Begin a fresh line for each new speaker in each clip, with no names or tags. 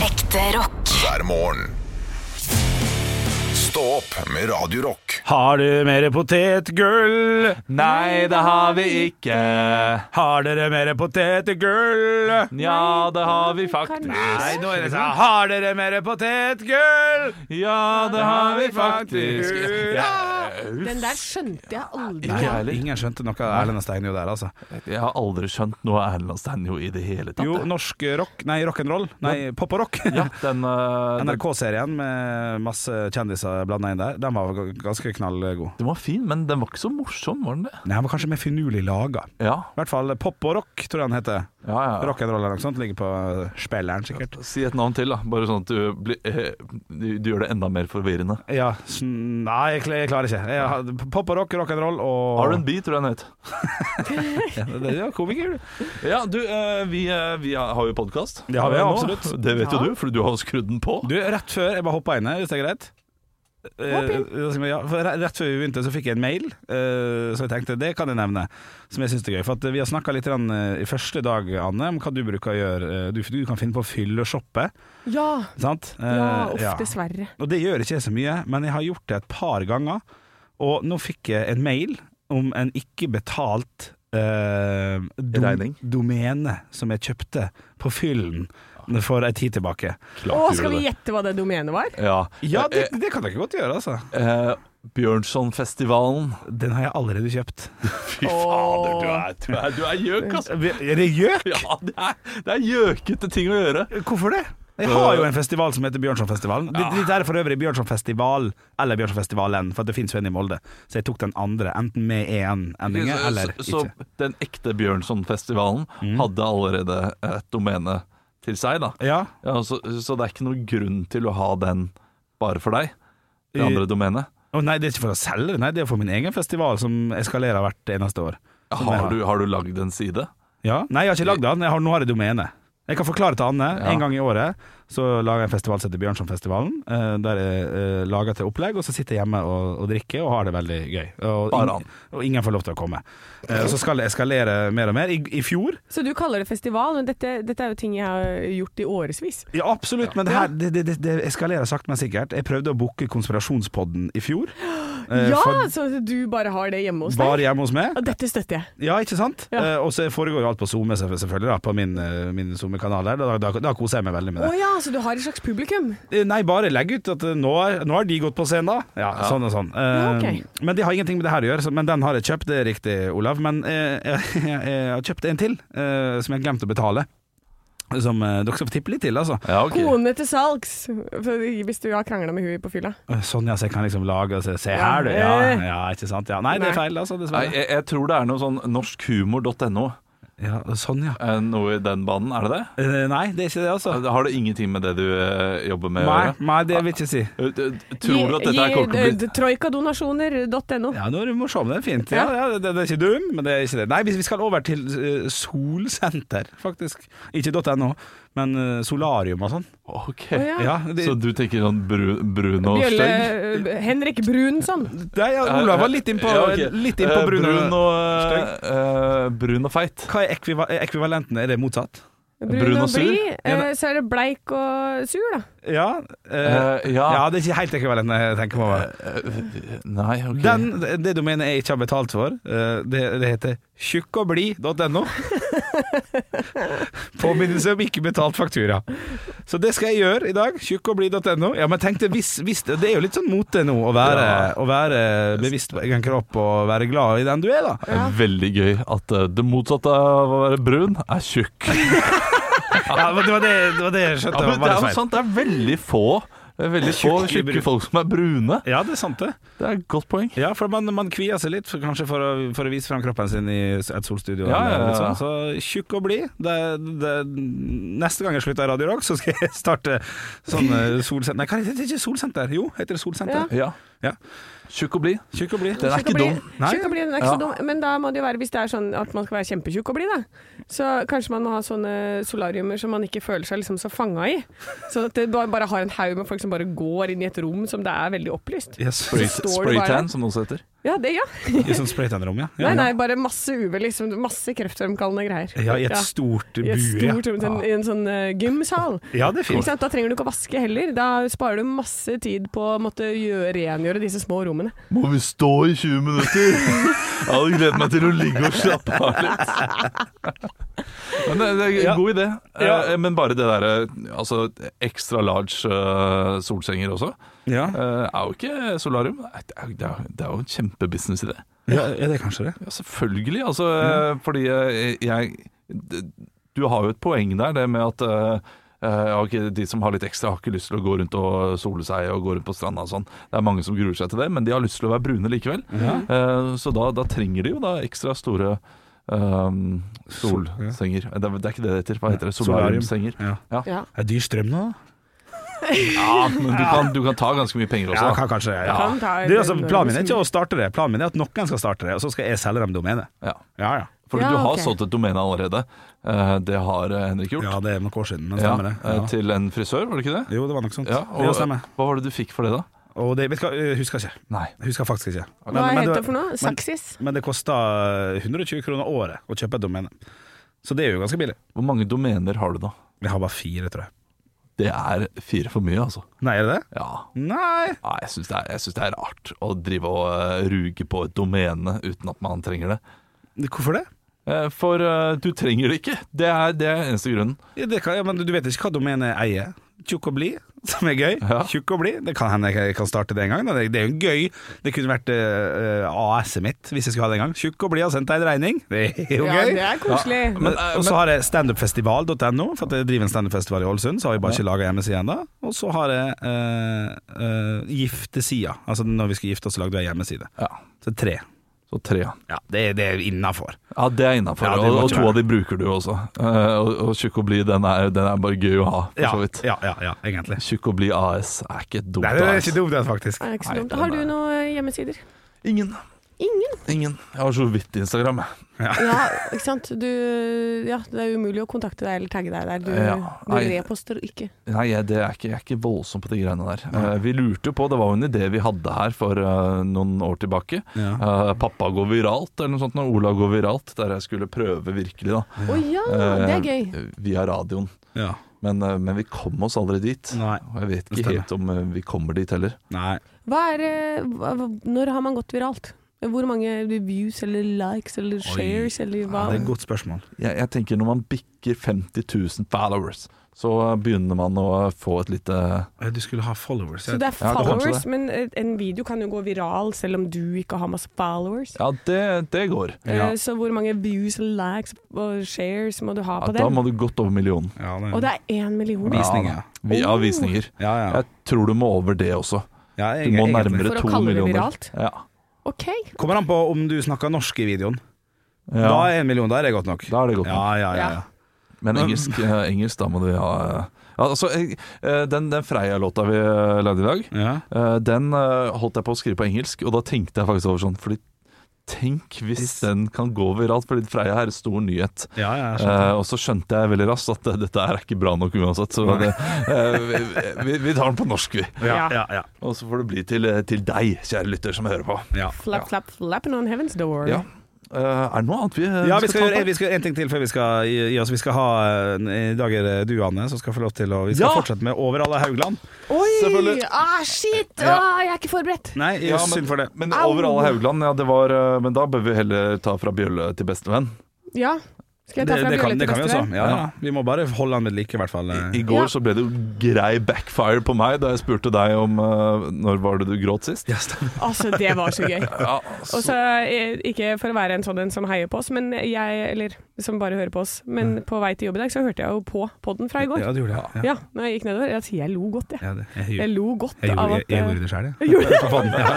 Ekte rock.
hver morgen. Stå opp med Radio Rock.
Har du mer potetgull?
Nei, det har vi ikke.
Har dere mer potetgull?
Ja, det har vi faktisk.
Nei, nå er det sånn Har dere mer potetgull?
Ja, det har vi faktisk.
Den der skjønte jeg aldri.
Nei,
Ikke heller.
ingen skjønte noe av Erlend og Steinjo der, altså.
Jeg har aldri skjønt noe av Erlend Stanjo i det hele tatt.
Jo, norsk rock, nei rock'n'roll, nei pop og rock.
Ja, den, eh, den,
NRK-serien med masse kjendiser blanda inn der, den var g- ganske knallgod.
den var fin, men den var ikke så morsom, var den det?
Nei, den var kanskje mer finurlig laga.
Ja,
I hvert fall pop og rock, tror jeg den heter.
ja, ja.
Rock'n'roll eller noe sånt ligger på spilleren, sikkert.
Si et navn til, da. Bare sånn at du, blir, eh, du, du gjør det enda mer forvirrende.
Ja, sn- nei, jeg kl- jeg klarer ikke. Jeg har- Pop og rock, rock'n'roll og
R&B, tror jeg den het.
Ja, det- det- ja, komiker, du.
Ja, du, eh, vi, eh, vi har jo podkast.
Det har vi, absolutt.
Det vet jo du, for du har jo skrudd den på.
Du, rett før jeg bare hoppa inn her, hvis det er greit. Eh, da skal vi- ja, for re- rett før vi begynte, så fikk jeg en mail, eh, så jeg tenkte det kan jeg nevne. Som jeg syns er gøy. For at vi har snakka litt grann, eh, i første dag, Anne, om hva du bruker å gjøre. Eh, Du, du kan finne på å fylleshoppe,
Ja,
sant? Eh,
ja, uff,
ja.
dessverre.
Og det gjør ikke jeg så mye, men jeg har gjort det et par ganger. Og nå fikk jeg en mail om en ikke betalt eh, dom
Regning.
domene som jeg kjøpte på fyllen for ei tid tilbake. Eh,
Å, skal vi gjette hva det domenet var?
Ja,
Ja, det, det kan jeg ikke godt gjøre, altså.
Eh, Bjørnsonfestivalen.
Den har jeg allerede kjøpt.
Fy fader, du er, du er, du er gjøk, altså.
Er det gjøk?
Ja, det er, det er gjøkete ting å gjøre.
Hvorfor det? Jeg har jo en festival som heter Bjørnsonfestivalen. Ja. Dette er for øvrig Bjørnsonfestival eller Bjørnsonfestivalen, for det fins jo en i Molde. Så jeg tok den andre, enten med EN-endinga eller
Så, så
ikke. Mm.
den ekte Bjørnsonfestivalen hadde allerede et domene til seg, da.
Ja,
Ja, så, så det er ikke noen grunn til å ha den bare for deg, det andre domenet.
Å nei, det er ikke for å selge, nei, det er for min egen festival som eskalerer hvert eneste år. Som jeg
Har du, har du lagd en side?
Ja. Nei, jeg har ikke lagd den, jeg har, nå har jeg domenet. Jeg kan forklare til Anne. En gang i året så lager jeg en festival som heter Bjørnsonfestivalen, eh, der jeg eh, lager til opplegg, og så sitter jeg hjemme og, og drikker og har det veldig gøy. Og,
Bare
ing-
han.
og ingen får lov til å komme. Eh, så skal det eskalere mer og mer. I, i fjor
Så du kaller det festival, men dette, dette er jo ting jeg har gjort i årevis.
Ja, absolutt, men det, her, det, det, det, det eskalerer sakte, men sikkert. Jeg prøvde å booke Konspirasjonspodden i fjor. eh,
Ja,
for-
så du bare har det hjemme hos deg?
bare hjemme hos meg.
Ja, dette støtter jeg.
Ja, ikke sant?
Ja.
Eh, og så foregår jo alt på SoMe, selv- selvfølgelig, da, på min, eh, min SoMe-kanal. her. Da, da, da koser jeg meg veldig med
Å
det.
ja, så du har et slags publikum?
Eh, Nei, bare legg ut at eh, nå er, nå er de gått på scenen, da. Ja, Sånn og sånn. Eh,
Ja, ok.
Men det har ingenting med det her å gjøre. så- Men den har jeg kjøpt, det er riktig, Olav. Men eh, jeg, jeg, har kjøpt en til, eh, som jeg glemte å betale. Som eh, dere skal få tippe litt til, altså.
Ja, ok.
Kone til salgs, for hvis du har krangla med henne på fylla.
Eh, Sånn, ja, så jeg kan liksom lage og se, se
Ja.
her, du. Ja, ja, ikke sant. Ja. Nei, det er
Nei.
feil, altså.
Nei,
Dessverre.
jeg, jeg tror det er noe sånn norskhumor.no,
Ja, sånn, ja.
eh, noe i den banen. Er det det?
Eh, Nei, det er ikke det, altså.
Har det ingenting med det du eh, jobber med å
Nei,
gjøre?
nei, det vil jeg ikke si.
Eh, d- d- Tror du at dette her kommer til å bli
eh, Troikadonasjoner.no.
Ja, nå er du morsom, det er fint. Ja, ja, det, det er ikke dum, men det er ikke det. Nei, vi vi skal over til eh, solsenter, faktisk. Ikke .no, men eh, solarium og sånn.
Ok,
Å,
Ja, det,
Så du tenker sånn bru, brun og
Bjølle
stygg?
eh, Henrik Brunson.
Nei, ja, Olav var litt inn på,
Ja, ok.
litt inn på
Eh,
brun,
brun
og
og eh, brun og feit.
Hva er ekviva er ekvivalenten? Er det motsatt?
Brun,
Brun og
og
sur?
blid. eh, Så er det bleik og sur, da.
Ja, eh,
Eh,
ja.
ja. Eh,
det er ikke helt ekvivalenten jeg tenker meg over.
Nei, ok.
Den, det domenet jeg ikke har betalt for, eh, det, det heter tjukkogbli.no. Påminnelse om ikke betalt faktura. Så det skal jeg gjøre i dag. Tjukkogbli.no. Ja, men tenk det, hvis, hvis det, det er jo litt sånn mote nå å være,
Ja.
å være bevisst på egen kropp og være glad i den du er, da.
Veldig gøy at eh, det motsatte av å være brun er tjukk.
Ja, men det var det, det, var det jeg skjønte.
Ja, men det
var
er jo
litt feil.
sant, det er veldig få det er veldig få
Tjukke brun.
tjukke folk som er brune.
Ja, det er sant, det.
Det er et godt poeng.
Ja, for man, man kvier seg litt, for, kanskje for å, for å vise fram kroppen sin i et solstudio.
Ja, ja,
eller litt
ja.
Sånn. Så tjukk og blid. Det- det- Neste gang jeg slutter i Radio Rock, så skal jeg starte sånn eh, solsenter Nei, hva heter det? Ikke solsenter? Jo, heter det solsenter?
Ja.
Ja.
Tjukk og blid.
Tjukk og blid.
Den er
Tjukk
ikke
og blid-
dum.
Nei.
tjukk og blid, den er ikke
Ja.
så dum. Men da må det jo være, hvis det er sånn at man skal være kjempetjukk og blid, da. Så kanskje man må ha sånne solariumer som man ikke føler seg liksom så fanga i. Sånn at det ba- bare har en haug med folk som som bare går inn i et rom som det er veldig opplyst.
Yes.
Spray-
Så står det bare-
Spraytan, som noen heter.
Ja, det, ja.
I sånn spraytan-rom, ja.
Nei,
ja.
nei, bare masse UV, liksom. Masse kreftfremkallende greier.
Ja, i et stort bur.
I et
ja.
stort rom, til en, i en sånn eh, gymsal.
Ja, det er
Ikke
fint.
sant? Da trenger du ikke å vaske heller. Da sparer du masse tid på å måtte gjøre, rengjøre disse små rommene.
Må vi stå i 20 minutter? Jeg hadde gledet meg til å ligge og slappe av litt. Men det, det er en
Ja.
God idé. Eh,
Ja.
Men bare det derre altså, ekstra large eh, solsenger også,
Ja.
eh, er jo ikke solarium. Nei, Det er, det er, det er jo en kjempebusinessidé.
ja, er det kanskje det?
Ja, selvfølgelig. Altså, eh, fordi eh, jeg d- Du har jo et poeng der, det med at eh, eh, ja, ok, de som har litt ekstra, har ikke lyst til å gå rundt og sole seg og gå rundt på stranda og sånn. Det er mange som gruer seg til det, men de har lyst til å være brune likevel. Eh, Så da, da trenger de jo da ekstra store ehm, solsenger. Det er, det er ikke det det heter. Hva heter det?
Solarium.
Solariumsenger.
Ja.
Ja.
Er det dyr strøm nå, da?
Ja, men du kan, du kan ta ganske mye penger også.
Ja,
da.
kan, kanskje det. Ja.
Kan ta-
Det er altså, planen min er ikke å starte det, planen min er at noen skal starte det, og så skal jeg selge dem domenet.
Ja.
Ja, ja.
For
Ja,
du har
ok.
solgt et domene allerede. Eh, Det har eh, Henrik gjort.
Ja, det er noen år siden, men
Ja,
stemmer det.
eh,
Ja.
Til en frisør, var det ikke det?
Jo, det var nok sånt.
Ja, og,
det stemmer.
Hva var det du fikk for det, da?
Og det, vet du hva, jeg husker ikke.
Nei.
Jeg Husker faktisk ikke.
Hva heter
det-
det for noe? Saksis?
Men det eh, kosta 120 kroner året å kjøpe et domene. Så det er jo ganske billig.
Hvor mange domener har du, da?
Jeg har bare fire, tror jeg.
Det er fire for mye, altså.
Nei, er det det?
Ja.
Nei.
Nei, jeg syns det, er- jeg syns det er rart å drive og eh, ruge på et domene uten at man trenger det.
Hvorfor det?
Eh, For eh, du trenger det ikke. Det er, det er eneste grunnen.
Ja, det kan, ja, men du vet ikke hva domenet eier. Tjukk og blid, som er gøy.
Ja.
Tjukk og blid. Det kan hende jeg kan starte det en gang. Da. Det, det er jo gøy. Det kunne vært eh, eh, AS-et mitt hvis jeg skulle ha det en gang. Tjukk og blid har sendt deg en regning. Det er jo
Ja,
gøy.
det er koselig.
Ja, men, eh,
og så har jeg standupfestival.no, for at jeg driver en standupfestival i Ålesund. Så har jeg bare ikke laga hjemmeside ennå. Og så har jeg eh, eh, giftesida, altså når vi skulle gifte oss, så lagde vi ei hjemmeside.
Ja,
Så tre.
Så tre, ja.
Ja, det, er- det er innafor.
Ja, Det er innafor.
Ja, det
og,
må
og
ikke
to
være.
av de bruker du også. Eh, Og, og Tjukk og blid, den, er- den er bare gøy å ha, for
Ja,
så vidt.
ja, ja, ja, egentlig.
Tjukk og blid AS er ikke et dumt
Nei, det er
AS.
ikke dumt, det, faktisk.
Er ikke så
Nei,
dumt.
den
Har du
er-
noen eh, hjemmesider?
Ingen.
Ingen.
Ingen. Jeg har så vidt Instagram, jeg.
Ja, ikke sant. Du, ja, det er umulig å kontakte deg eller tagge deg der. Du,
Ja.
du
Nei.
reposter ikke.
Nei, jeg, det er ikke, jeg er ikke voldsom på de greiene der. Eh, vi lurte jo på, det var jo en idé vi hadde her for eh, noen år tilbake.
Ja.
Eh, pappa går viralt, eller noe sånt. Når Ola går viralt, der jeg skulle prøve virkelig, da.
Å ja, det er gøy.
Eh, Via radioen.
Ja.
Men, eh, men vi kom oss aldri dit.
Nei.
Og jeg vet
Det
ikke helt om eh, vi kommer dit heller.
Nei.
Hva er, eh, hva, hva- når har man gått viralt? Hvor mange views eller likes eller shares eller hva?
Det er et godt spørsmål.
Jeg, jeg tenker når man bikker 50 000 followers, så eh, begynner man å få et lite
Eh, Du skulle ha followers.
Så det er
Ja, kanskje
followers,
det.
men eh, en video kan jo gå viral selv om du ikke har masse followers.
Ja, det, det går.
Ja.
Eh, Så hvor mange views, likes og shares må du ha
Ja,
på
da
den?
må du godt over millionen.
Ja, det
Og det er én million
Ja,
Visninger.
Vi
Oh.
har visninger.
Ja, ja.
Jeg tror du må over det også.
ja
Du må
egentlig.
nærmere
For å
to
kalle det
millioner.
viralt?
Ja.
OK.
Kommer an på om du snakker norsk i videoen. Da
Ja,
er en million, da er det godt nok.
da er det godt.
Ja, ja,
nok.
ja. ja.
Men engelsk, eh, engelsk, da må du ha eh, ja, altså, eh, eh, Den, den Freia-låta vi eh, lagde i dag,
ja.
eh, den eh, holdt jeg på å skrive på engelsk, og da tenkte jeg faktisk over sånn Fordi tenk hvis den kan gå viralt, fordi Freia er en stor nyhet.
ja, ja jeg skjønte.
Eh, og så skjønte jeg veldig raskt at eh, dette er ikke bra nok uansett, så det, eh, vi, vi, vi tar den på norsk, vi.
ja, ja, ja,
Og så får det bli til, eh, til deg, kjære lytter som hører på.
ja.
Flap, flap, flapping on heaven's door.
Ja. Eh, er det noe annet vi, eh,
Ja, vi skal
ta
gjøre
på?
vi skal, en ting til før vi skal gi gi oss. Vi skal ha eh, I dag er det du, Anne, som skal få lov til å Vi skal
Ja!
fortsette med Over alle Haugland.
Oi!
Selvfølgelig.
Ah, shit!
Ja.
Ah, jeg er ikke forberedt.
Nei,
Ja, men-
synd for det.
Men
Au!
over alle Haugland, ja, det var eh, Men da bør vi heller ta fra bjølle til bestevenn.
Ja. Skal
Det,
jeg ta fra
det, kan,
Bjørle
det
til
kan vi også.
bestevenn?
Ja, ja. Vi må bare holde han ved like, i hvert fall.
I, I
eh.
går
Ja.
så ble det jo grei backfire på meg da jeg spurte deg om eh, når var det du gråt sist.
Ja, stemmer.
Altså, det var så gøy.
Ja,
Og så, eh, ikke for å være en sånn en som heier på oss, men jeg, eller som bare hører på oss, men på vei til jobb i dag, så hørte jeg jo på podden fra i går.
Mm. Ja, du gjorde det. Ja.
Ja, når jeg gikk nedover. Jeg, jeg lo godt, jeg.
Ja, det. Jeg,
Jeg lo godt
jeg,
av
gjorde, jeg, jeg
at eh,
gjorde det sjøl, jeg.
jeg gjorde det.
På podden, ja.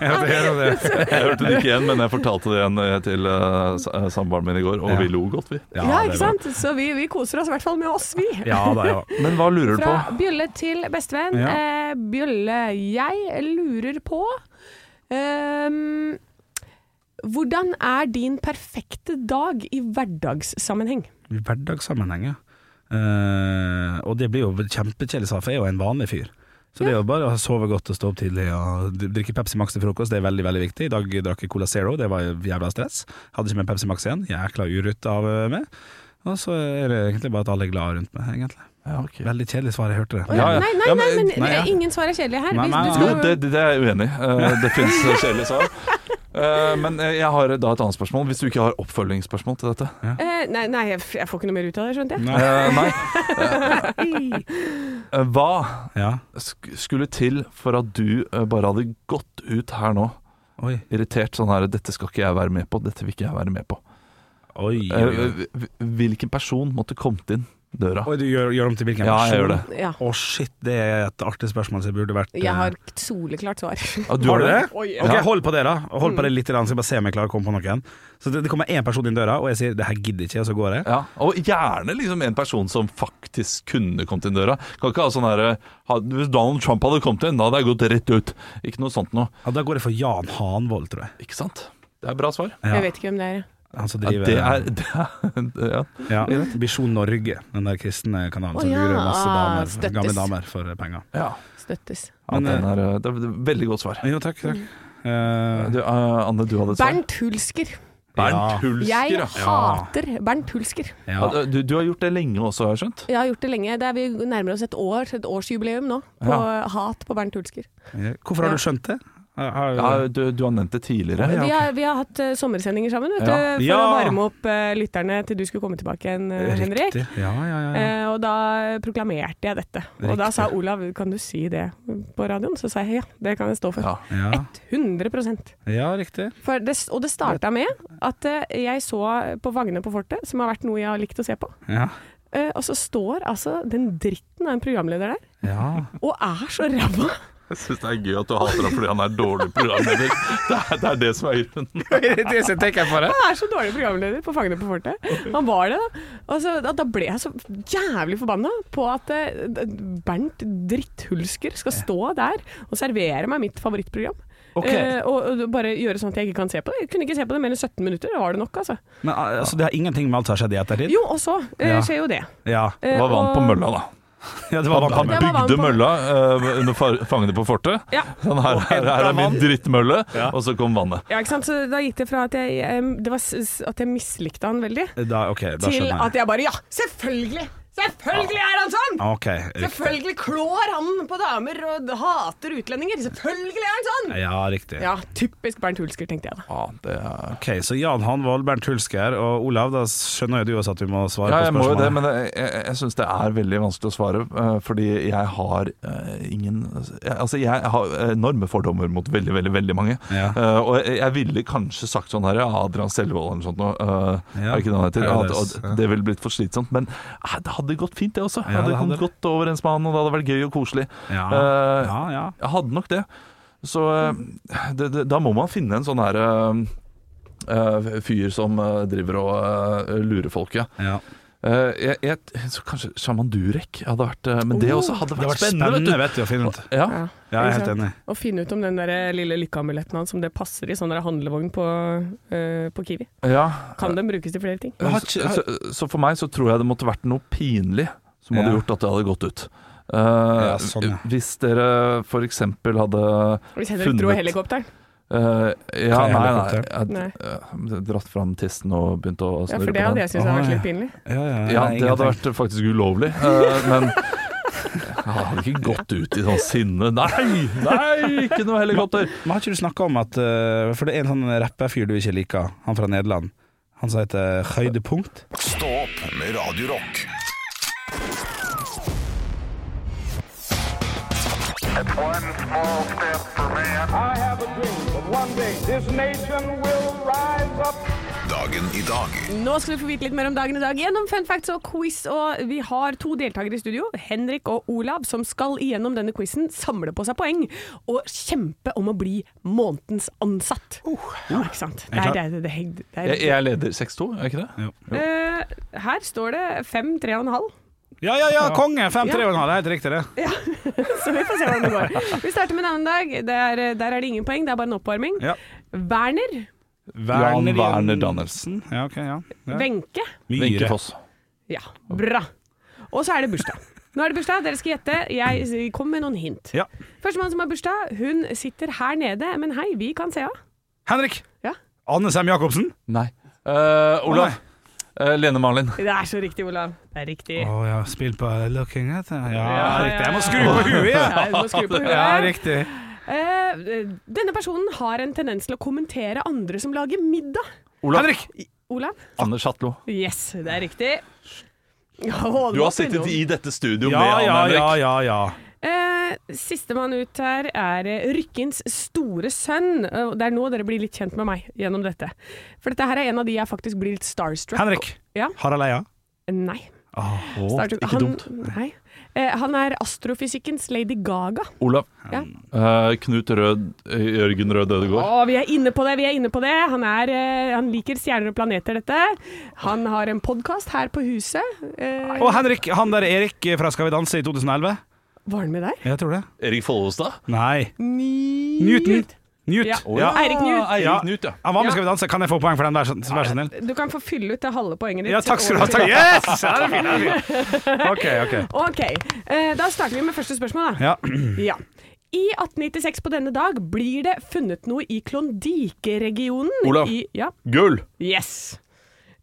Jeg hørte- jeg hørte det.
jeg hørte det ikke igjen, men jeg fortalte det igjen eh, til eh, s- eh, samboeren min i går, og
Ja.
vi lo godt, vi.
Ja,
det er
ikke
bra.
sant? Så vi, vi koser oss i hvert fall med oss, vi.
Ja da, ja.
Men hva lurer du på?
Fra bjølle til bestevenn.
Ja.
Eh, bjølle, jeg lurer på ehm, Hvordan er din perfekte dag i hverdagssammenheng?
I hverdagssammenheng, ja. Eh, og det blir jo kjempekjedelig, sa jeg, for jeg er jo en vanlig fyr. Så det er jo bare å sove godt og stå opp tidlig og d- drikke Pepsi Max til frokost, det er veldig, veldig viktig. I dag drakk jeg Cola Zero, det var jævla stress. Hadde ikke med Pepsi Max igjen, jækla urutt av eh, meg. Og så er det egentlig bare at alle er glad rundt meg, egentlig.
Ja, ok.
Veldig kjedelig svar, jeg hørte det.
Å,
Ja, ja.
Nei, nei,
Ja,
nei,
men-
men
nei, ja.
ingen svar er kjedelig her.
Nei,
Hvis
nei,
du
nei.
skal-
Jo, det, det er jeg uenig i. Eh, Det fins kjedelige svar. Eh, Men jeg har da et annet spørsmål, hvis du ikke har oppfølgingsspørsmål til dette.
Eh, nei, nei, jeg f- jeg får ikke noe mer ut av det, skjønte jeg.
Nei.
Eh, Nei. Eh, Hva
Ja.
sk- skulle til for at du eh, bare hadde gått ut her nå,
Oi.
irritert sånn her 'Dette skal ikke jeg være med på, dette vil ikke jeg være med på'.
Oi,
Eh,
oi, oi.
hv- Hvilken person måtte kommet inn døra?
Oi, du gjør, gjør om til hvilken
Ja, jeg
versjon?
gjør det.
Ja.
Å shit, det er et artig spørsmål som burde vært eh,
Jeg har et soleklart svar.
Ah, du
Har du det?
Oi, ja.
Ok, Hold på det, da. Hold
Mm.
på det litt, grann, så jeg bare ser om jeg klarer å komme på noen. Så det, det kommer én person inn døra, og jeg sier 'det her gidder ikke', og så går jeg.
Ja, og gjerne liksom en person som faktisk kunne kommet inn døra. Kan ikke ha sånn her, ha- Hvis Donald Trump hadde kommet inn, da hadde jeg gått rett ut. Ikke noe sånt noe.
Ja, da går jeg for Jan Hanvold, tror jeg.
Ikke sant? Det er bra svar.
Ja.
Jeg vet ikke hvem det er.
Han som
Ja,
driver eh,
det er, det er ja.
ja, Visjon Norge, den der kristne kanalen som
Å, ja, ah,
lurer masse damer,
støttes.
gamle damer for penger.
ja.
Støttes.
ja
Men,
den er, det er et veldig godt svar.
Jo, takk. takk.
Mm.
Eh,
Du, eh, Anne, du hadde et svar.
Bernt Hulsker.
Ja.
Bernt
Jeg
Hulsker, ja.
hater Bernt Hulsker.
ja.
ja. Du, du har gjort det lenge også, har jeg skjønt?
Jeg har gjort det lenge. Det er vi nærmer oss et år, et årsjubileum nå, på hat på Bernt Hulsker.
Hvorfor har du skjønt det? Har- har-
Ja, du, du har nevnt det tidligere.
vi, har, vi har hatt eh, sommersendinger sammen, vet du,
Ja.
for å
Ja.
varme opp eh, lytterne til du skulle komme tilbake igjen, eh, Henrik.
Riktig. Ja, ja, ja, ja.
Eh, og da proklamerte jeg dette. Og da
Riktig.
sa Olav kan du si det på radioen? Så sa jeg ja, det kan jeg stå for.
Ja.
Ja,
100
ja, riktig.
For det, Og det starta med at eh, jeg så på Vagne på fortet, som har vært noe jeg har likt å se på.
Ja.
Eh, og så står altså den dritten av en programleder der,
ja.
og er så ræva!
Jeg syns det er gøy at du hater ham fordi han er dårlig programleder. Det er det, er det som er
Eh,
grunnen.
det som tenker på det.
Han er så dårlig programleder på Fangene på fortet. Han var det, da. Og så, da, da ble jeg så jævlig forbanna på at eh, Bernt Dritthulsker skal stå der og servere meg mitt favorittprogram.
Ok.
Eh, og, og bare gjøre sånn at jeg ikke kan se på det. Jeg kunne ikke se på det mer enn 17 minutter, da var det nok, altså.
Men altså, det har ingenting med alt som har skjedd i ettertid?
Jo, og så eh,
Ja.
skjer jo det.
Ja.
Eh,
Hva vant på
og-
mølla, da?
ja, det var
Han, han
vann.
Det var
bygde
vann på-
mølla eh, under fa- Fangene på fortet.
Ja.
Sånn her, her, her er min drittmølle,
Ja.
og så kom vannet.
Ja, ikke sant? Så da gikk det fra at jeg, em, det var s- s- at jeg mislikte han veldig,
Da, ok, da
til
skjønner
at
jeg.
jeg bare Ja, selvfølgelig! Selvfølgelig er han sånn!
Ok, riktig.
Selvfølgelig klår han på damer og hater utlendinger! Selvfølgelig er han sånn!
Ja, riktig.
Ja, typisk Bernt Hulsker, tenkte jeg da.
Ja, det er...
Ok, så Jan Hanvold, Bernt Hulsker og Olav, da skjønner jo du også at vi må svare på
Ja, jeg må jo
spørsmålet.
det, men jeg, jeg, jeg syns det er veldig vanskelig å svare. eh, fordi jeg har eh, ingen jeg, Altså, jeg har enorme fordommer mot veldig, veldig veldig mange.
Ja.
Eh, og jeg, jeg ville kanskje sagt sånn her ja, Adrian Selvold eller noe sånt noe. eh,
Ja.
Er ikke det han heter?
Ja, det
det,
er- ja.
og det ville blitt for slitsomt. Men eh, det hadde gått fint, det også. Jeg
Ja,
hadde
det hadde
kommet
det.
godt overens med han, og det hadde vært gøy og koselig.
Ja.
Eh,
ja, ja.
Jeg hadde nok det. Så eh, det, det, da må man finne en sånn her eh, eh, fyr som eh, driver og eh, lurer folket.
ja.
Eh, jeg, jeg, så kanskje Shaman Durek hadde vært eh, Men det
Oh,
også hadde
Det
vært,
har vært
spennende,
spennende, vet du, å finne ut.
vet du. Ja.
Ja, jeg er
ikke
helt
sant?
enig.
Å finne ut om den der lille lykkeamuletten hans, om det passer i sånn der handlevogn på, eh, på Kiwi.
ja.
Kan den brukes til flere ting?
Men har
Så,
ikke-
så, så for meg så tror jeg det måtte vært noe pinlig som hadde
Ja.
gjort at det hadde gått ut. Eh,
sånn, ja.
Hvis dere for eksempel hadde
Hvis Henrik dro i
Funnet.
helikopteren.
eh, Ja,
Hva er
nei, nei,
helikopter?
jeg-
Nei.
eh, Dratt fram tissen og begynt å
Ja,
snurre
for det
på
hadde
den.
jeg syntes hadde vært
Å,
litt pinlig.
Ja, ja,
Ja,
nei,
det hadde
ingenting.
vært faktisk ulovlig, eh, men jeg hadde ikke gått ut i sånn sinne. Nei, nei, ikke noe helikopter!
Men har ikke du snakka om at eh, For det er en sånn rapperfyr du ikke liker, han fra Nederland. Han som heter Høydepunkt.
Stå opp med Radio Rock.
One small step for man.
I have a dream that one day this nation will rise up.
Dagen i dag
Nå skal du få vite litt mer om dagen i dag gjennom fun facts og quiz. Og vi har to deltakere i studio, Henrik og Olav, som skal igjennom denne quizen samle på seg poeng og kjempe om å bli månedens ansatt. ja, ikke sant? Det
Er
er,
jeg
det er, det er, det er,
Jeg, jeg leder 6-2, er ikke det?
Eh, her står det fem, tre og en halv.
Ja, ja, ja, konge!
Ja.
5-3,5, det er helt riktig, det.
Så vi får se hvordan det går. Vi starter med en annen dag. Der, der er det ingen poeng, det er bare en oppvarming.
Ja.
Werner,
Jan
Jan-
Werner Danielsen.
Ja, ok, ja. ja.
Wenche.
Myhre.
Wenche Foss.
Ja, bra. Og så er det bursdag. Nå er det bursdag, dere skal gjette. Jeg kom med noen hint.
Ja.
Førstemann som har bursdag, hun sitter her nede, men hei, vi kan se henne.
Henrik!
Ja.
Anne Sem Jacobsen.
Nei. Eh,
Å,
Olav. Eh, Lene Marlin.
Det er så riktig, Olav. Det er riktig.
Å ja, spill på looking at Ja,
ja,
riktig. Jeg må
ja.
skru på huet!
Ja,
Ja.
du må skru på
Ja,
huet.
riktig.
Eh, denne personen har en tendens til å kommentere andre som lager middag.
Olav.
Henrik!
Olav?
Anders Hatlo.
Yes, det er riktig.
Du har sittet i dette studioet
Ja,
med Anne
ja, ja,
Henrik.
ja, ja.
Eh, Sistemann ut her er eh, Rykkins store sønn. Eh, og Det er nå dere blir litt kjent med meg gjennom dette. For dette her er en av de jeg faktisk blir litt starstruck
Henrik.
Ja.
Harald Eia.
Nei.
Å,
starstruck-
ikke
han,
dumt.
Nei. Eh, han er astrofysikkens Lady Gaga.
Olav.
Ja.
Eh, Knut Rød eh, Jørgen Rød
Å,
Ødegaard.
vi er inne på det, vi er inne på det. Han, er, eh, han liker stjerner og planeter, dette. Han har en podkast her på huset. Eh,
Og Henrik, han der Erik fra Skal vi danse i 2011.
var han med der?
Jeg tror det.
Erik Follestad.
Nei. Newton.
Newton.
Newt.
Ja.
Ja.
Eirik Knut.
Ja.
Eirik Knut, ja.
Han var med
Ja.
Skal vi danse. Kan jeg få poeng for den, vær så vær så snill?
Du kan få fylle ut det halve poenget ditt.
Ja, takk skal du ha. Takk. Yes! Ja, det er fint, det er fint. OK, OK.
Ok, eh, da starter vi med første spørsmål. Da.
Ja.
Ja. I 1896 på denne dag blir det funnet noe i Klondyke-regionen.
Olav.
I, ja.
Gull.
Yes,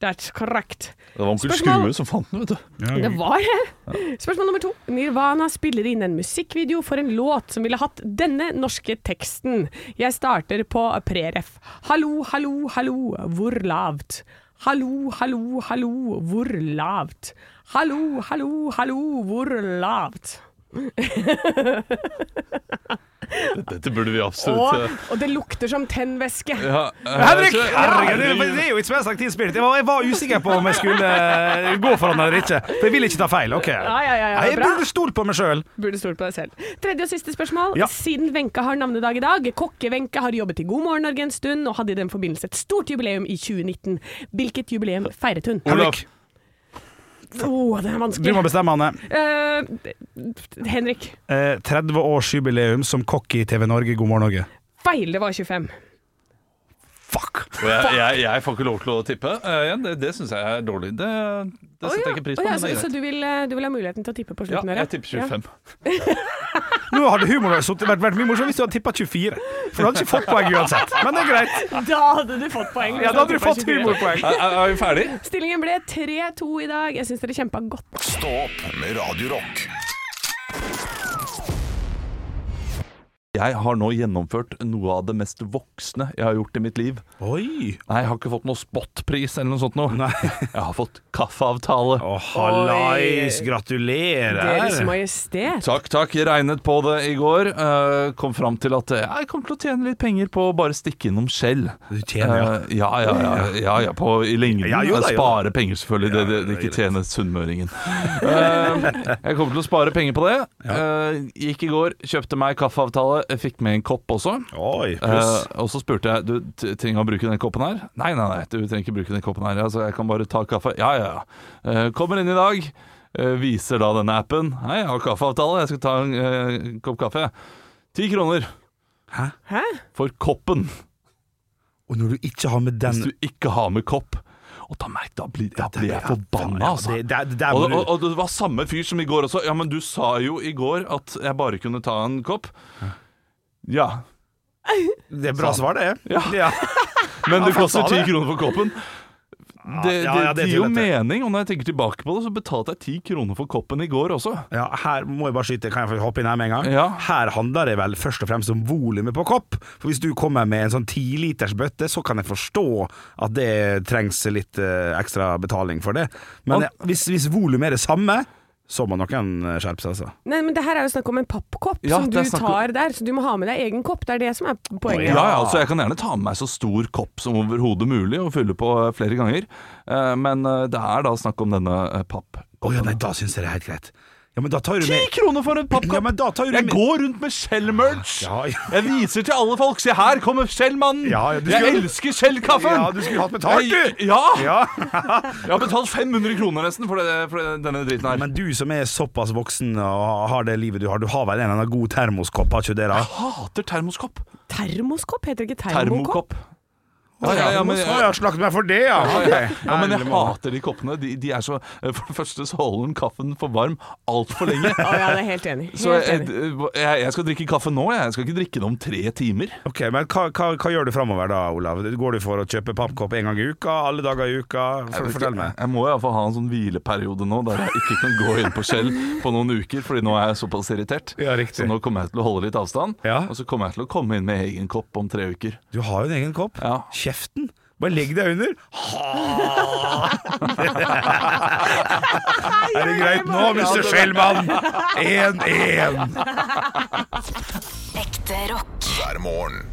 that's correct.
Det var onkel
Spørsmål.
Skrue som fant den, vet du.
Det var det. Spørsmål nummer to. Nirvana spiller inn en musikkvideo for en låt som ville hatt denne norske teksten. Jeg starter på preref. Hallo, hallo, hallo, hvor lavt? Hallo, hallo, hallo, hvor lavt? Hallo, hallo, hallo, hvor lavt?
Dette burde vi absolutt
Og,
eh,
og det lukter som tennvæske.
ja, eh,
Henrik!
så-
Herregud, det det er jo It's Best Active Spirit. Jeg var, jeg var usikker på om jeg skulle eh, gå for han eller ikke. For jeg vil ikke ta feil. OK.
Ja, ja, ja, ja,
Nei, jeg
bra.
burde stolt på meg sjøl.
Burde stolt på deg selv. Tredje og siste spørsmål.
Ja.
Siden Wenche har navnedag i dag, kokke-Wenche har jobbet i God morgen Norge en stund og hadde i den forbindelse et stort jubileum i 2019. Hvilket jubileum feiret hun?
Olav.
Henrik,
Å, det er
du må
vanskelig.
bestemme, Anne.
Eh, Henrik.
Eh, 30-årsjubileum som kokk i TV Norge. God morgen, Norge.
Feil, det var 25.
Fuck!
Og jeg, jeg, jeg får ikke lov til å tippe. Eh, igjen, det det syns jeg er dårlig. Det, det setter jeg ikke pris på.
Å ja,
men det
så,
er
så
greit.
du vil, eh, du vil ha muligheten til å tippe på
Ja,
slutten? her,
jeg tipper 25.
Nå hadde humoren vært, vært, vært mye morsom hvis du hadde tippa 24. For du hadde ikke fått poeng uansett. Men det er greit.
Ja. Da hadde du fått poeng. hvis
Ja, Da hadde du
tippet
fått
24.
humorpoeng.
Er, er, er vi ferdig?
Stillingen ble 3-2 i dag. Jeg syns dere kjempa godt.
Stå opp med Radio Rock.
Jeg har nå gjennomført noe av det mest voksne jeg har gjort i mitt liv.
Oi.
Nei, jeg har ikke fått noe spotpris eller noe sånt noe.
Nei.
Jeg har fått kaffeavtale.
Å, hallais.
Deres
Gratulerer.
Majestet.
Takk, takk. Jeg Regnet på det i går. eh, kom fram til at eh, jeg kommer til å tjene litt penger på å bare stikke innom Shell.
Du tjener, ja.
Eh, ja. Ja, ja, ja. ja på, I lengden.
Ja, jo da, jo da.
Spare penger, selvfølgelig.
Ja,
det, det,
det
det
er
ikke tjene sunnmøringen. Eh, jeg kommer til å spare penger på det. Eh, gikk i går, kjøpte meg kaffeavtale, jeg fikk med en kopp også.
Oi, pluss.
Eh, og så spurte jeg Du t- trenger å bruke den koppen her Nei, nei, nei, du trenger ikke bruke den koppen her altså, Jeg kan bare ta kaffe Ja, ja, ja Eh, Kommer inn i dag eh, Viser da denne appen Hei, jeg har kaffeavtale Jeg skal ta en eh, kopp kaffe 10 kroner
Hæ?
for koppen
Og når du ikke har med den
Hvis du ikke har med kopp Og da, merk, da, blir, da blir jeg forbanna altså.
Ja, det- det- der må
og,
du-
og, og det var samme fyr som i går også Ja, men du sa jo i går At jeg bare kunne ta en kopp Ja,
Det er bra svar, det.
Ja.
altså, Ja.
Men det
for
koster
faen, det.
10 kroner for koppen. Det, det,
ja, ja, det er
gir jo
tullete.
mening, og når jeg tenker tilbake på det, så betalte jeg 10 kroner for koppen i går også.
ja, her må jeg bare skyte. Kan jeg få hoppe inn her med en gang?
Ja.
Her handler det vel først og fremst om volumet på kopp. For hvis du kommer med en sånn tiliters bøtte, så kan jeg forstå at det trengs litt eh, ekstra betaling for det. Men
Og-
eh, hvis, hvis volumet er det samme, så må noen eh, skjerpe seg, altså.
Nei, men det her er jo snakk om en pappkopp
Ja,
som
det
du
er snakk om-
tar der, så du må ha med deg egen kopp. Det er det som er poenget.
Ja, ja, altså Jeg kan gjerne ta med meg så stor kopp som overhodet mulig og fylle på eh, flere ganger, Eh, men eh, det er da snakk om denne eh, papp...
Å ja, nei, da syns jeg det er helt greit. Ja, men da tar du
10
med
kroner for en pappkopp!
Ja, men da tar du
jeg
med-
går rundt med Shell-merch!
Ja, ja.
Jeg viser til alle folk! Se, her kommer Shell-mannen!
Ja, ja, du
jeg
skulle-
elsker Shell-kaffen!
Ja, du skulle hatt betalt,
Jeg-
du!
Ja!
Ja.
Jeg har betalt 500 kroner nesten for, det, for denne driten her.
Men du som er såpass voksen og har det livet du har, du har vel en eller annen god termoskopp, har ikke du det? da?
Jeg hater termoskopp.
Termoskopp? Heter det ikke termokopp?
Termokopp. Ja, ja, ja, men,
Å, jeg har slaktet meg for det, ja. Ok.
Ja, men jeg
Ærlig måte.
hater de koppene. De, de er så For det første så holder den kaffen for varm altfor lenge.
Å ja, det er helt enig.
Så
Helt
jeg, eh,
enig.
jeg, jeg skal drikke kaffe nå, jeg. Jeg skal ikke drikke det om tre timer.
Ok, men hva, hva, hva gjør du framover da, Olav? Går du for å kjøpe pappkopp en gang i uka? Alle dager i uka? For, fortell meg.
Jeg må iallfall ha en sånn hvileperiode nå, der jeg ikke kan gå inn på Skjell på noen uker, fordi nå er jeg såpass irritert.
Ja, riktig.
Så nå kommer jeg til å holde litt avstand,
Ja.
og så kommer jeg til å komme inn med egen kopp om tre uker.
Du har jo en egen kopp.
Ja.
Kjeften. Bare legg deg under. eh, Er det greit nå, Mr. Skjellmann? Én, én.
Ekte rock.
hver morgen.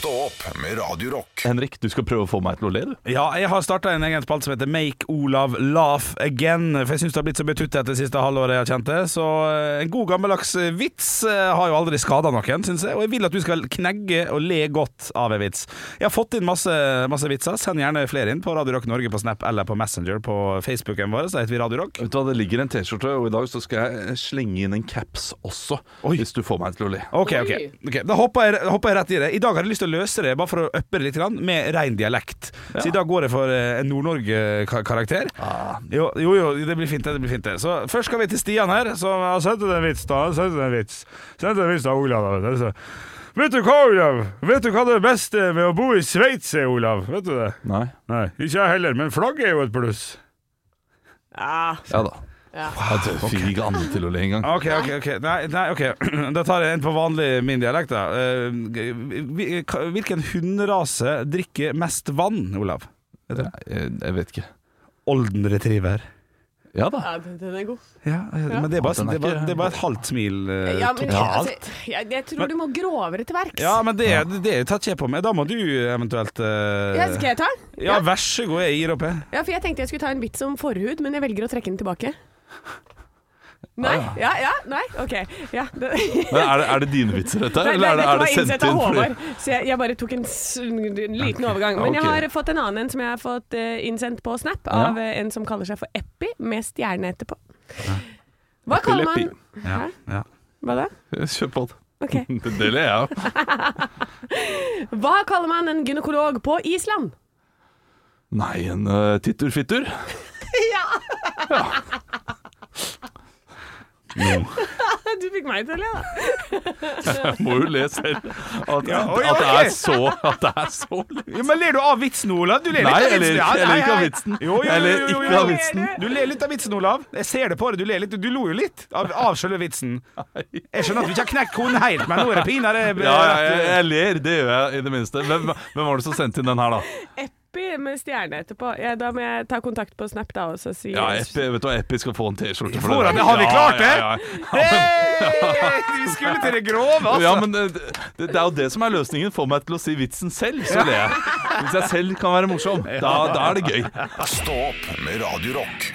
Stå opp med Radio Rock.
Henrik, du skal prøve å få meg til å le, du.
Ja, jeg har starta en egen spalte som heter Make Olav laugh again. For jeg syns det har blitt så betuttet det siste halvåret jeg har kjent det. Så eh, en god gammeldags eh, vits eh, har jo aldri skada noen, syns jeg. Og jeg vil at du skal knegge og le godt av en vits. Jeg har fått inn masse, masse vitser. Send gjerne flere inn på Radio Rock Norge på Snap eller på Messenger på Facebooken vår. Så heter vi Radio Rock.
Vet du hva, Det ligger en T-skjorte, og i dag så skal jeg slenge inn en caps også.
Oi.
Hvis du får meg til å le.
Ok, ok, ok. Da hopper jeg, hopper jeg rett i det. I dag har jeg lyst til å løse det, bare for å uppe det litt, grann, med rein dialekt. Så i dag går jeg for eh, en Nord-Norge-karakter. Jo, jo, jo, det blir fint, det. det blir fint det. Så Først skal vi til Stian her, som har sendt en vits. da, Han har sendt en vits. Sendt en vits da, Olav. da, vet du. Så, Vet du hva, Olav? Vet du hva det beste med å bo i Sveits er, Olav? Vet du det?
Nei?
Nei, ikke jeg heller, men flagget er jo et pluss.
Ja.
Ja da. Jeg fikk ikke andre til å le engang.
Ok, ok, ok. Nei, nei, ok. Da tar jeg en på vanlig min dialekt. da. Eh, vi- hva- Hvilken hunderase drikker mest vann, Olav?
Jeg, jeg vet ikke.
Olden retriever.
Ja da.
Ja, den den er god.
Ja, eh, men det er bare, sånn, det
den er
er bare,
ikke-
det er bare et halvt smil eh,
Ja, men,
totalt.
altså, jeg, jeg tror du må grovere til verks.
Ja, men det, det tar ikke jeg på meg. Da må du eventuelt eh,
Ja, skal jeg ta den?
Ja, vær så god, jeg gir opp, jeg.
Ja, for jeg tenkte jeg skulle ta en bits om forhud, men jeg velger å trekke den tilbake. Nei?
Ah.
Ja, ja, nei, ok. Ja, det,
Men er, det, er det dine vitser, dette? her,
Nei,
Eller er det,
dette
er
var
det sendt
innsett av
inn? fordi-
Håvard, så jeg, jeg bare tok en, s- en liten overgang. Men jeg
Ok.
har fått en annen en som jeg har fått eh, innsendt på Snap, av eh, en som kaller seg for Eppi, med stjerne etterpå. Hva kaller man
Eppileppi.
Ja,
Hæ?
ja.
Hva da?
Kjør på.
Ok.
Det det ler jeg av.
Hva kaller man en gynekolog på Island?
Nei, en eh, titturfittur.
Du fikk meg til å le, da.
Jeg må jo le selv. At,
Ja, oi,
at, det
ok.
er så, at det er så lett.
Ja, men ler du av vitsen, Olav? Du ler
Nei,
litt
jeg
av vitsen.
ler
Ja,
ikke- jeg ler
nei,
ikke av
nei.
vitsen.
Jo, jo,
Jeg ler
jo, jo, jo,
ikke av
jo.
vitsen.
Du ler litt av vitsen, Olav. Jeg ser det på deg. Du ler litt. Du lo jo litt av, av selve vitsen. Jeg skjønner at du ikke har knekt koden helt, men nå er det pinadø eh,
Ja, jeg, jeg, jeg ler, det gjør jeg i det minste. Hvem, hvem var det som sendte inn den her, da?
Eppi med stjerne etterpå. Ja, da må jeg ta kontakt på Snap da, og så si
Ja, Eppi, vet du hva, Eppi skal få en T-skjorte for
Får han
det.
det? Har vi
Ja,
klart det?
ja, ja.
Hei! Vi skulle til det grove, altså.
Ja, men det, det, det er jo det som er løsningen. Få meg til å si vitsen selv, så ler jeg. Hvis jeg selv kan være morsom, da, da er det gøy.
Stå opp med Radio Rock.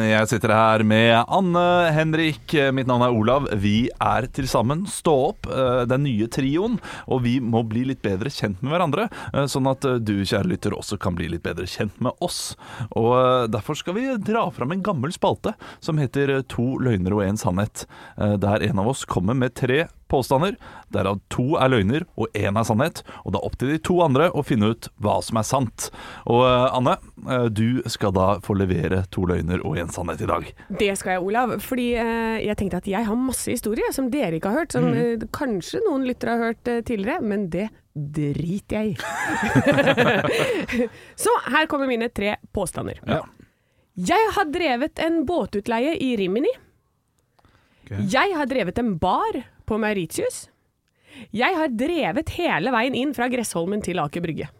Jeg sitter her med Anne Henrik. Mitt navn er Olav. Vi er til sammen Stå opp, eh, den nye trioen. Og vi må bli litt bedre kjent med hverandre, eh, sånn at eh, du, kjære lytter, også kan bli litt bedre kjent med oss. Og eh, derfor skal vi dra fram en gammel spalte som heter eh, To løgner og en sannhet. eh, Der en av oss kommer med tre påstander, derav to er løgner og én er sannhet. Og det er opp til de to andre å finne ut hva som er sant. Og eh, Anne, eh, du skal da få levere to løgner og én sannhet i dag.
Det skal jeg, Olav. Fordi eh, jeg tenkte at jeg har masse historier som dere ikke har hørt, som eh, kanskje noen lyttere har hørt eh, tidligere, men det driter jeg i. Så her kommer mine tre påstander.
Ja.
Jeg har drevet en båtutleie i Rimini. Jeg har drevet en bar på Mauritius. Jeg har drevet hele veien inn fra Gressholmen til Aker Brygge.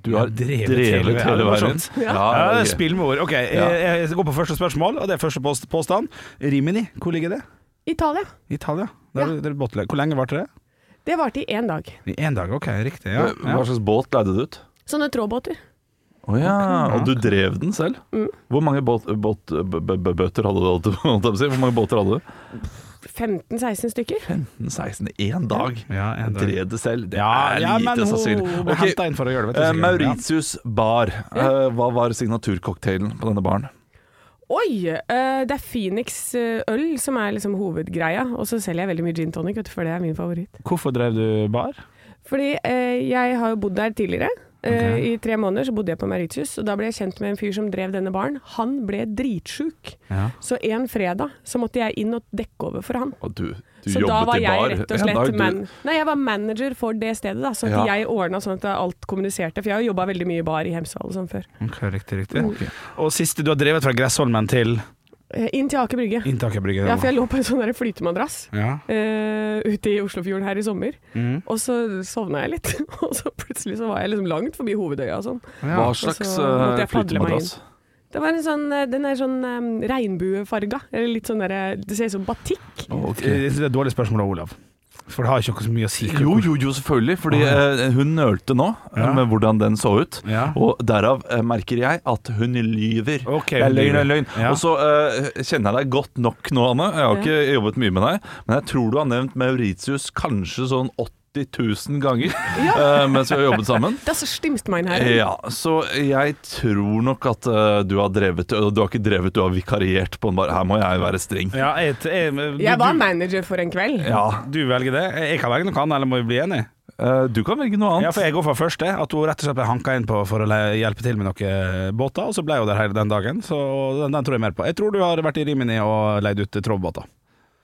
Du har
drevet
drevet,
hele veien.
hele
Ja,
veien.
det sånn.
Ja,
Ja, det er
gøy.
spill med ord. Ok, jeg, jeg går på første spørsmål, og det er første post påstand. Rimini, hvor ligger det?
Italia.
Italia. Der,
Ja.
der bottler- hvor lenge varte det?
Det varte i én dag.
I én dag, ok, riktig. Ja.
Hva slags båt leide du ut?
Sånne trådbåter.
Å ja,
Mm.
og du drev den selv? Hvor mange båt, båt, b- b- b- bøter hadde du? holdt jeg på å si? Hvor mange båter hadde du?
15-16 stykker.
16, én dag.
Ja, en dag.
Drev det selv? Det
Ja,
er
ja, men
lite
hun
sannsynlig.
ble
Ok,
hentet inn for å gjøre det. vet du
Eh,
sikkert.
Mauritius bar. Eh, hva var signaturcocktailen på denne baren?
Oi! eh, det er Phoenix eh, øl som er liksom hovedgreia, og så selger jeg veldig mye gin tonic, vet du, for det er min favoritt.
Hvorfor drev du bar?
Fordi eh, jeg har jo bodd der tidligere. Eh, I tre måneder så bodde jeg på Mauritius, og da ble jeg kjent med en fyr som drev denne baren. Han ble dritsjuk.
Ja.
Så en fredag så måtte jeg inn og dekke over for han.
Og du, du
så da
jobbet
var
i
jeg
bar.
rett og
Ja,
slett
da er du-
man Nei, jeg var manager for det stedet, da. Så at
Ja.
jeg ordna sånn at alt kommuniserte. For jeg har jobba veldig mye i bar i Hemsedal og sånn før.
Ok, Riktig, riktig. Og siste du har drevet fra Gressholmen til
Eh, Inn til Aker Brygge.
Inntaket Brygge?
Ja, for jeg lå på en sånn der flytemadrass.
Ja. mm.
eh, ute i Oslofjorden her i sommer. Og så sovna jeg litt, og så plutselig så var jeg liksom langt forbi hovedøya og sånn.
Hva
Og
slags
så måtte
eh,
jeg padle meg
flytemadrass?
Det var en sånn, eh, den er sånn eh, regnbuefarga, eller litt sånn derre Det ser ut som batikk.
Eh, Det er et dårlig spørsmål av Olav, for det har ikke så mye å si.
Jo, jo, jo, selvfølgelig. Fordi eh, hun nølte nå eh,
Ja.
med hvordan den så ut.
Ja.
Og derav eh, merker jeg at hun lyver.
Ok,
det er
hun
løgn, det er
lyver.
løgn.
Ja.
Og så eh, kjenner jeg deg godt nok nå, Anne. Jeg har
Ja.
ikke jobbet mye med deg, men jeg tror du har nevnt Mauritius kanskje sånn 80 000 ganger eh, mens vi har jobbet sammen.
Das stimmt mein Herr.
Ja, så jeg tror nok at eh, du har drevet Du har ikke drevet, du har vikariert på en bar. Her må jeg være streng.
Ja, jeg, jeg, du,
Jeg var
du,
manager for en kveld.
Ja,
du velger det. Jeg kan velge noe annet, eller må vi bli enige?
eh, du kan velge noe
Ja,
annet.
for jeg går for første, at hun rett og slett ble hanka inn på for å le- hjelpe til med noen båter, og så ble hun der hele den dagen, så den, den tror jeg mer på. Jeg tror du har vært i Rimini og leid ut eh, trålbåter.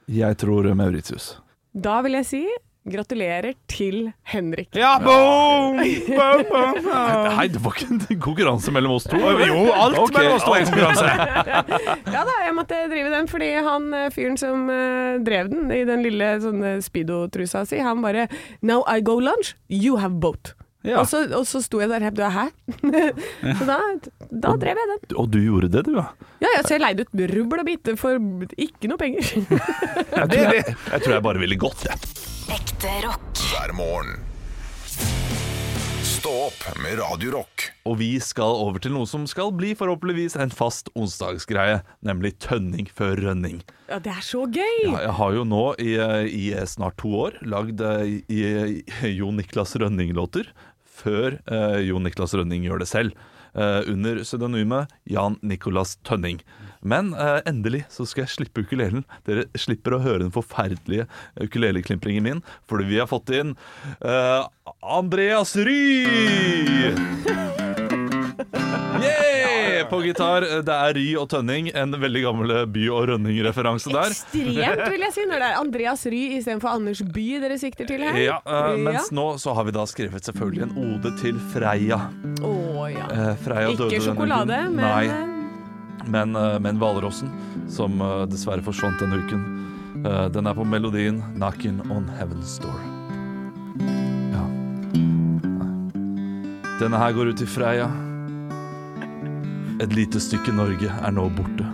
Jeg tror Mauritius.
Da vil jeg si gratulerer til Henrik.
Ja, boom! boom, boom, boom.
Nei, det var ikke en konkurranse mellom oss to.
Jo, alt
Ok,
mellom oss to er
alt.
en konkurranse.
Ja da, jeg måtte drive den fordi han eh, fyren som eh, drev den i den lille sånne speedo-trusa si, han bare Now I go lunch, you have boat.
Ja.
Og, så, og så sto jeg der helt Hæ? så da, da drev jeg den.
Og du gjorde det, du, ja.
Ja, ja, så jeg leide ut rubbel og bite for ikke noe penger.
Jeg tror jeg, jeg, tror jeg bare ville gått, jeg.
Ekte rock.
hver morgen. Stå opp med Radio Rock.
Og vi skal over til noe som skal bli forhåpentligvis en fast onsdagsgreie, nemlig tønning før rønning.
Ja, det er så gøy!
Ja, jeg har jo nå i, eh, i snart to år lagd eh, i, i Jo Niklas Rønning-låter før eh, Jo Niklas Rønning gjør det selv. eh, under pseudonymet Jan Nicolas Tønning. Men eh, endelig så skal jeg slippe ukulelen. Dere slipper å høre den forferdelige ukuleleklimplingen min, fordi vi har fått inn eh, Andreas Ry! Yeah! På gitar. eh, Det er Ry og Tønning. En veldig gammel eh, By- og Rønning-referanse der.
Ekstremt, vil jeg si, når det er Andreas Ry istedenfor Anders By dere sikter til her.
Ja, eh, mens
Ja.
nå så har vi da skrevet selvfølgelig en ode til Freia.
Å, ja.
Eh, Freia døde
Ikke
denne
sjokolade,
uken.
men
Nei, men, eh, men hvalrossen, som eh, dessverre forsvant denne uken. Eh, Den er på melodien 'Knockin' on Heaven's Door'. Ja. Denne her går ut til Freia. Et lite stykke Norge er nå borte.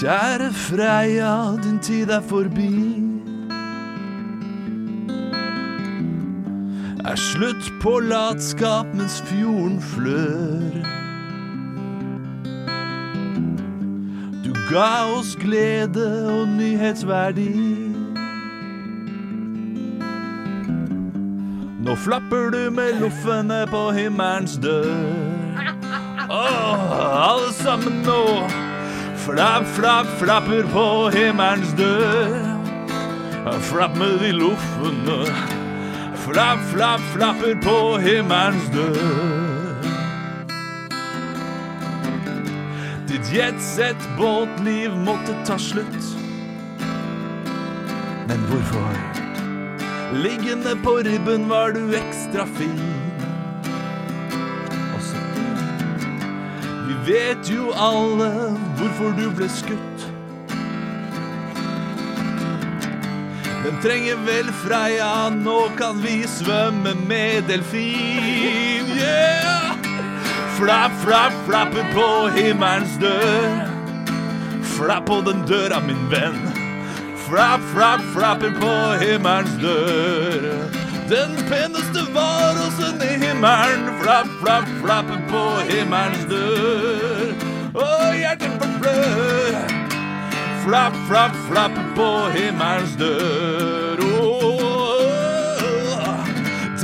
Kjære Freia, din tid er forbi. er slutt på latskap mens fjorden flør. Du ga oss glede og nyhetsverdi. Nå flapper du med loffene på himmelens dør. Åh, alle sammen nå. Flapp, flapp, flapper på himmelens dør. Flapp med de loffene. Flapp, flapp, flapper på himmelens dør. Ditt jetsett båtliv måtte ta slutt. Men hvorfor? Liggende på ribben var du ekstra fin. Og så Vi vet jo alle hvorfor du ble skutt. Den trenger vel Freia, nå kan vi svømme med delfin. Yeah! Flapp, flapp, flapper på himmelens dør. Flapp på den døra, min venn. Flapp, flapp, flapper på himmelens dør. Den peneste var åsen i himmelen. Flapp, flapp, flapper på himmelens dør. Å, hjertet vårt blør. Flapp, flapp, flapp på himmelens dør. Åh,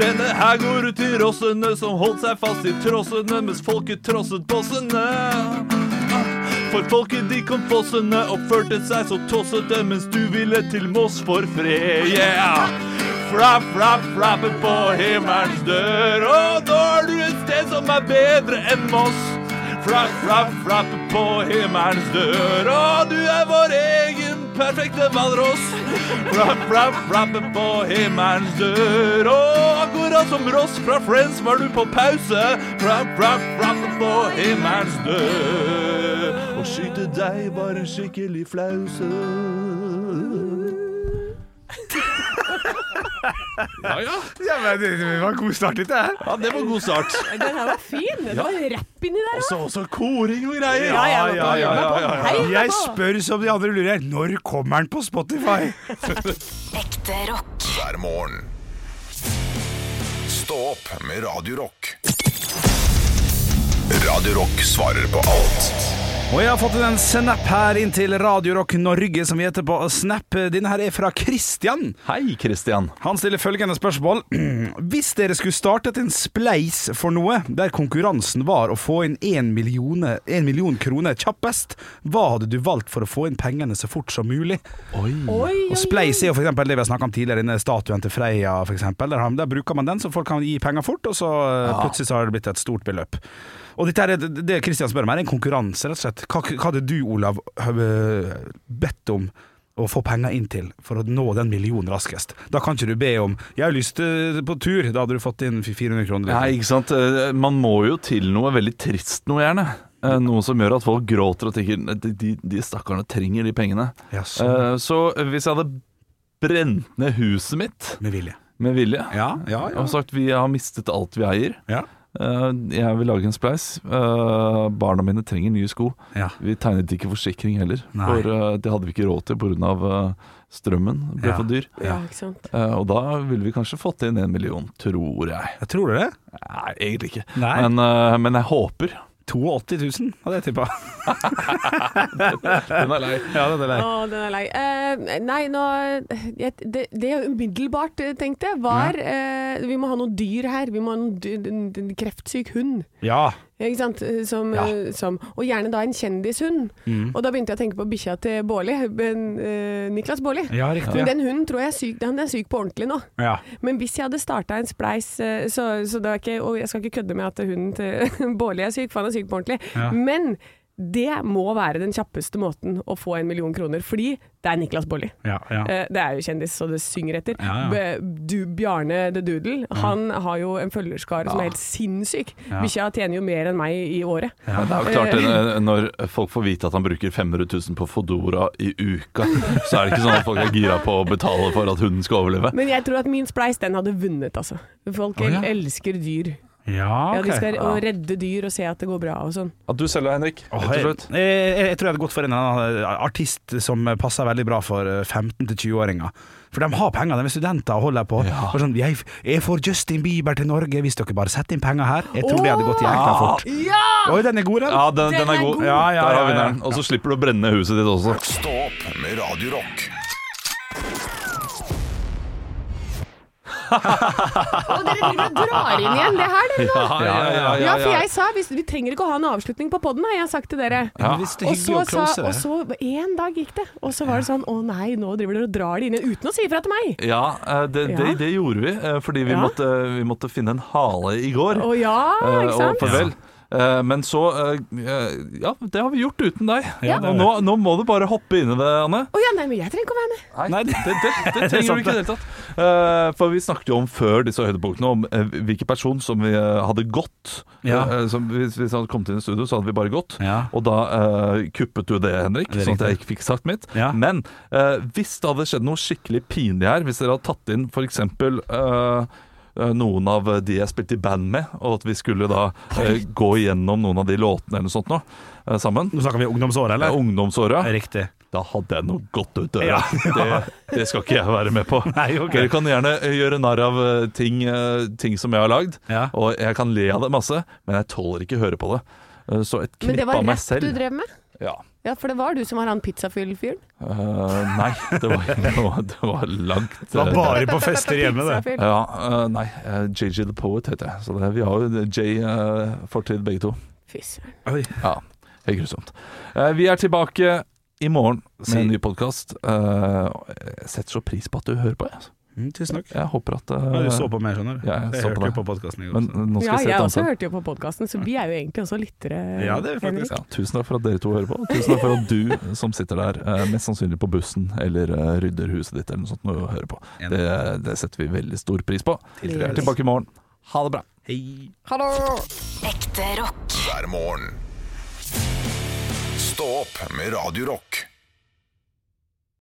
Denne Her går ut til rossene som holdt seg fast i trossene mens folket trosset bossene. For folket de kom fossende oppførte seg så tossete mens du ville til Moss for fred. Yeah! Flapp, flapp, flappe på himmelens dør. Og nå er du et sted som er bedre enn Moss. Flapp, flapp, flappe på himmelens dør. Og du er vår egen perfekte hvalross. Flapp, flapp, flappe på himmelens dør Og akkurat som Ross fra Friends var du på pause Flapp, flapp, flappe på himmelens dør Å skyte deg var en skikkelig flause Ja, ja.
Ja, men det, det var en god start, dette her.
ja, det var god start
Den her var fin. Det var rapp inni der òg.
Så også koring og greier
Ja, ja, ja, ja, ja, Hei,
Jeg
mamma.
spør som de andre lurer, når kommer den på Spotify?
Ekte rock.
hver morgen. Stå opp med Radio Rock. Radio Rock svarer på alt
Og jeg har fått inn en snap her inn til Radio Rock Norge, som vi heter på Snap. Denne her er fra Christian.
Hei, Kristian
Han stiller følgende spørsmål. Hvis dere skulle startet en spleis for noe, der konkurransen var å få inn én million, en million kroner kjappest, hva hadde du valgt for å få inn pengene så fort som mulig?
Oi,
Og
oi,
Spleis er jo for eksempel det vi har snakket om tidligere, denne statuen til Freia for eksempel. Der, har- der bruker man den, så folk kan gi penger fort, og så eh, plutselig så har det blitt et stort beløp. Og dette her, er- det Kristian spør om her, er en konkurranse, rett og slett. Hva, hva hadde du, Olav, ha- bedt om å få penger inn til for å nå den millionen raskest? Da kan ikke du be om 'jeg har lyst eh, på tur', da hadde du fått inn 400 kroner. liksom.
Nei, ikke sant Eh, Man må jo til noe veldig trist noe gjerne Eh, Noe som gjør at folk gråter og tenker "Nei, De, de, de stakkarene trenger de pengene
Ja, sånn.
Eh, Så hvis jeg hadde brent ned huset mitt
Med vilje.
Med vilje.
Ja, ja, ja.
Og sagt vi har mistet alt vi eier.
Ja.
Eh, jeg vil lage en spleis. Eh, barna mine trenger nye sko.
Ja.
Vi tegnet ikke forsikring heller,
Nei.
for eh, det hadde vi ikke råd til pga. Uh, strømmen ble
Ja.
for dyr.
oi. Ja, ikke sant.
Eh, og da ville vi kanskje fått inn en million, tror jeg.
Jeg tror det.
Nei, egentlig ikke.
Nei.
Men, eh, men jeg håper.
82 000 hadde jeg tippa.
Den er lei.
Ja, det er
Å, den er lei. Eh, nei, nå jeg, det, det jeg umiddelbart eh, tenkte, var eh, Vi må ha noen dyr her. Vi må ha noen dyr, en, en kreftsyk hund.
Ja.
Ikke sant? Eh, Som,
Ja.
eh, som, og gjerne da en kjendishund. Og da begynte jeg å tenke på bikkja til Bårli. men, eh, Niklas Bårli.
ja, riktig.
Men den hunden tror jeg er syk, han er syk på ordentlig nå.
Ja.
Men hvis jeg hadde starta en spleis, eh, så, så det er ikke, og jeg skal ikke kødde med at hunden til Bårli er syk, for han er syk på ordentlig,
Ja.
men det må være den kjappeste måten å få en million kroner, fordi det er Niklas Bårli.
Ja, ja.
Eh, Det er jo kjendis, så det synger etter.
Ja, ja.
B- Du, Bjarne The Doodle, han har jo en følgerskare som er helt sinnssyk.
Ja.
Bikkja tjener jo mer enn meg i året.
Men det er jo klart, eh, når folk får vite at han bruker 500 000 på Fodora i uka, så er det ikke sånn at folk er gira på å betale for at hunden skal overleve.
Men jeg tror at min spleis, den hadde vunnet, altså. Folk elsker
Ja,
dyr. Ja, de
ok.
skal å redde dyr og se at det går bra og sånn.
At du selger, Henrik.
Åh, jeg, jeg, Eh, jeg, jeg tror jeg hadde gått for en eller annen eh, artist som passer veldig bra for eh, 15-20-åringer. For de har penger, de er studenter og holder på. Og Sånn, jeg, jeg får Justin Bieber til Norge hvis dere bare setter inn penger her. Jeg tror det hadde gått jækla fort.
Ja!
Oi, den er god, den.
Ja, den, den, er god.
Ja, ja,
Der har
ja,
vi
ja.
den. Og så slipper du å brenne huset ditt også.
Stå opp med Radio Rock
Og dere driver og drar inn igjen det her, dere nå.
ja, ja,
Ja, for jeg sa vi, vi trenger ikke å ha en avslutning på poden, har jeg sagt til dere.
Men Hvis det er
Og
hyggelig
så
å
sa
close
Og
det.
så en dag gikk det, og så var det sånn å nei, nå driver dere og drar det inn igjen uten å si ifra til meg.
Ja, eh, det, det,
Ja.
det gjorde vi, eh, fordi vi,
Ja.
måtte, vi måtte finne en hale i går.
Å ja,
eh,
ikke
og
sant?
farvel. Eh, Men så eh, eh, Ja, det har vi gjort uten deg.
Ja, det er
Og nå, nå må du bare hoppe inn i det, Anne.
Å ja, nei, men jeg trenger ikke å være med.
Nei, det, det, det, det trenger du
sant
ikke i det hele tatt. Eh, for vi snakket jo om før disse høydepunktene om eh, hvilken person som vi eh, hadde gått.
Ja.
Eh, som hvis, hvis han hadde kommet inn i studio, så hadde vi bare gått.
Ja.
Og da eh, kuppet du det, Henrik,
Det er
sånn at jeg
riktig.
ikke fikk sagt mitt.
Ja.
Men eh, hvis det hadde skjedd noe skikkelig pinlig her, hvis dere hadde tatt inn for eksempel eh, eh, noen av de jeg spilte i band med, og at vi skulle da eh, gå igjennom noen av de låtene eller noe sånt nå, eh, sammen.
Nå snakker vi ungdomsåret,
Eh,
eller?
Ungdomsåra
Riktig.
da hadde jeg nok gått ut døra.
Ja.
Det, det skal ikke jeg være med på.
Nei, ok.
Dere kan gjerne gjøre narr av eh, ting, eh, ting som jeg har lagd,
Ja.
og jeg kan le av det masse, men jeg tåler ikke å høre på det. Eh, Så et
Men
knipp
det var
av meg
rett
selv
du drev med?
Ja.
Ja, for det var du som var han pizzafyll-fyren.
Eh, nei, det var, det var, det var langt
Det var
eh,
bare på fester hjemme, det.
Pizzafyll.
Ja, eh, nei. eh, JJ The Poet heter jeg. Så det, vi har jo J-fortid, begge to.
Fy søren.
Oi.
Ja, helt grusomt. Eh, vi er tilbake i morgen med en ny podkast. jeg setter så pris på at du hører på. jeg, Altså.
Mm, Tusen takk.
Jeg håper at eh,
Ja, du så på meg, skjønner du.
Ja, jeg
jeg
så på
hørte
deg.
jo på podkasten i går.
Men
så.
nå skal
Ja,
jeg se
jeg
et
også
annet.
hørte jo på podkasten, så vi er jo egentlig også lyttere.
Ja, det er vi faktisk.
Henrik.
Ja, tusen takk for at dere to hører på. og Tusen takk for at du som sitter der, eh, mest sannsynlig på bussen eller eh, rydder huset ditt eller noe sånt, når du hører på. Det, det setter vi veldig stor pris på. Vi er tilbake i morgen. Ha det bra.
Hei.
Ekte rock.
hver morgen. Stå opp med Radio Rock.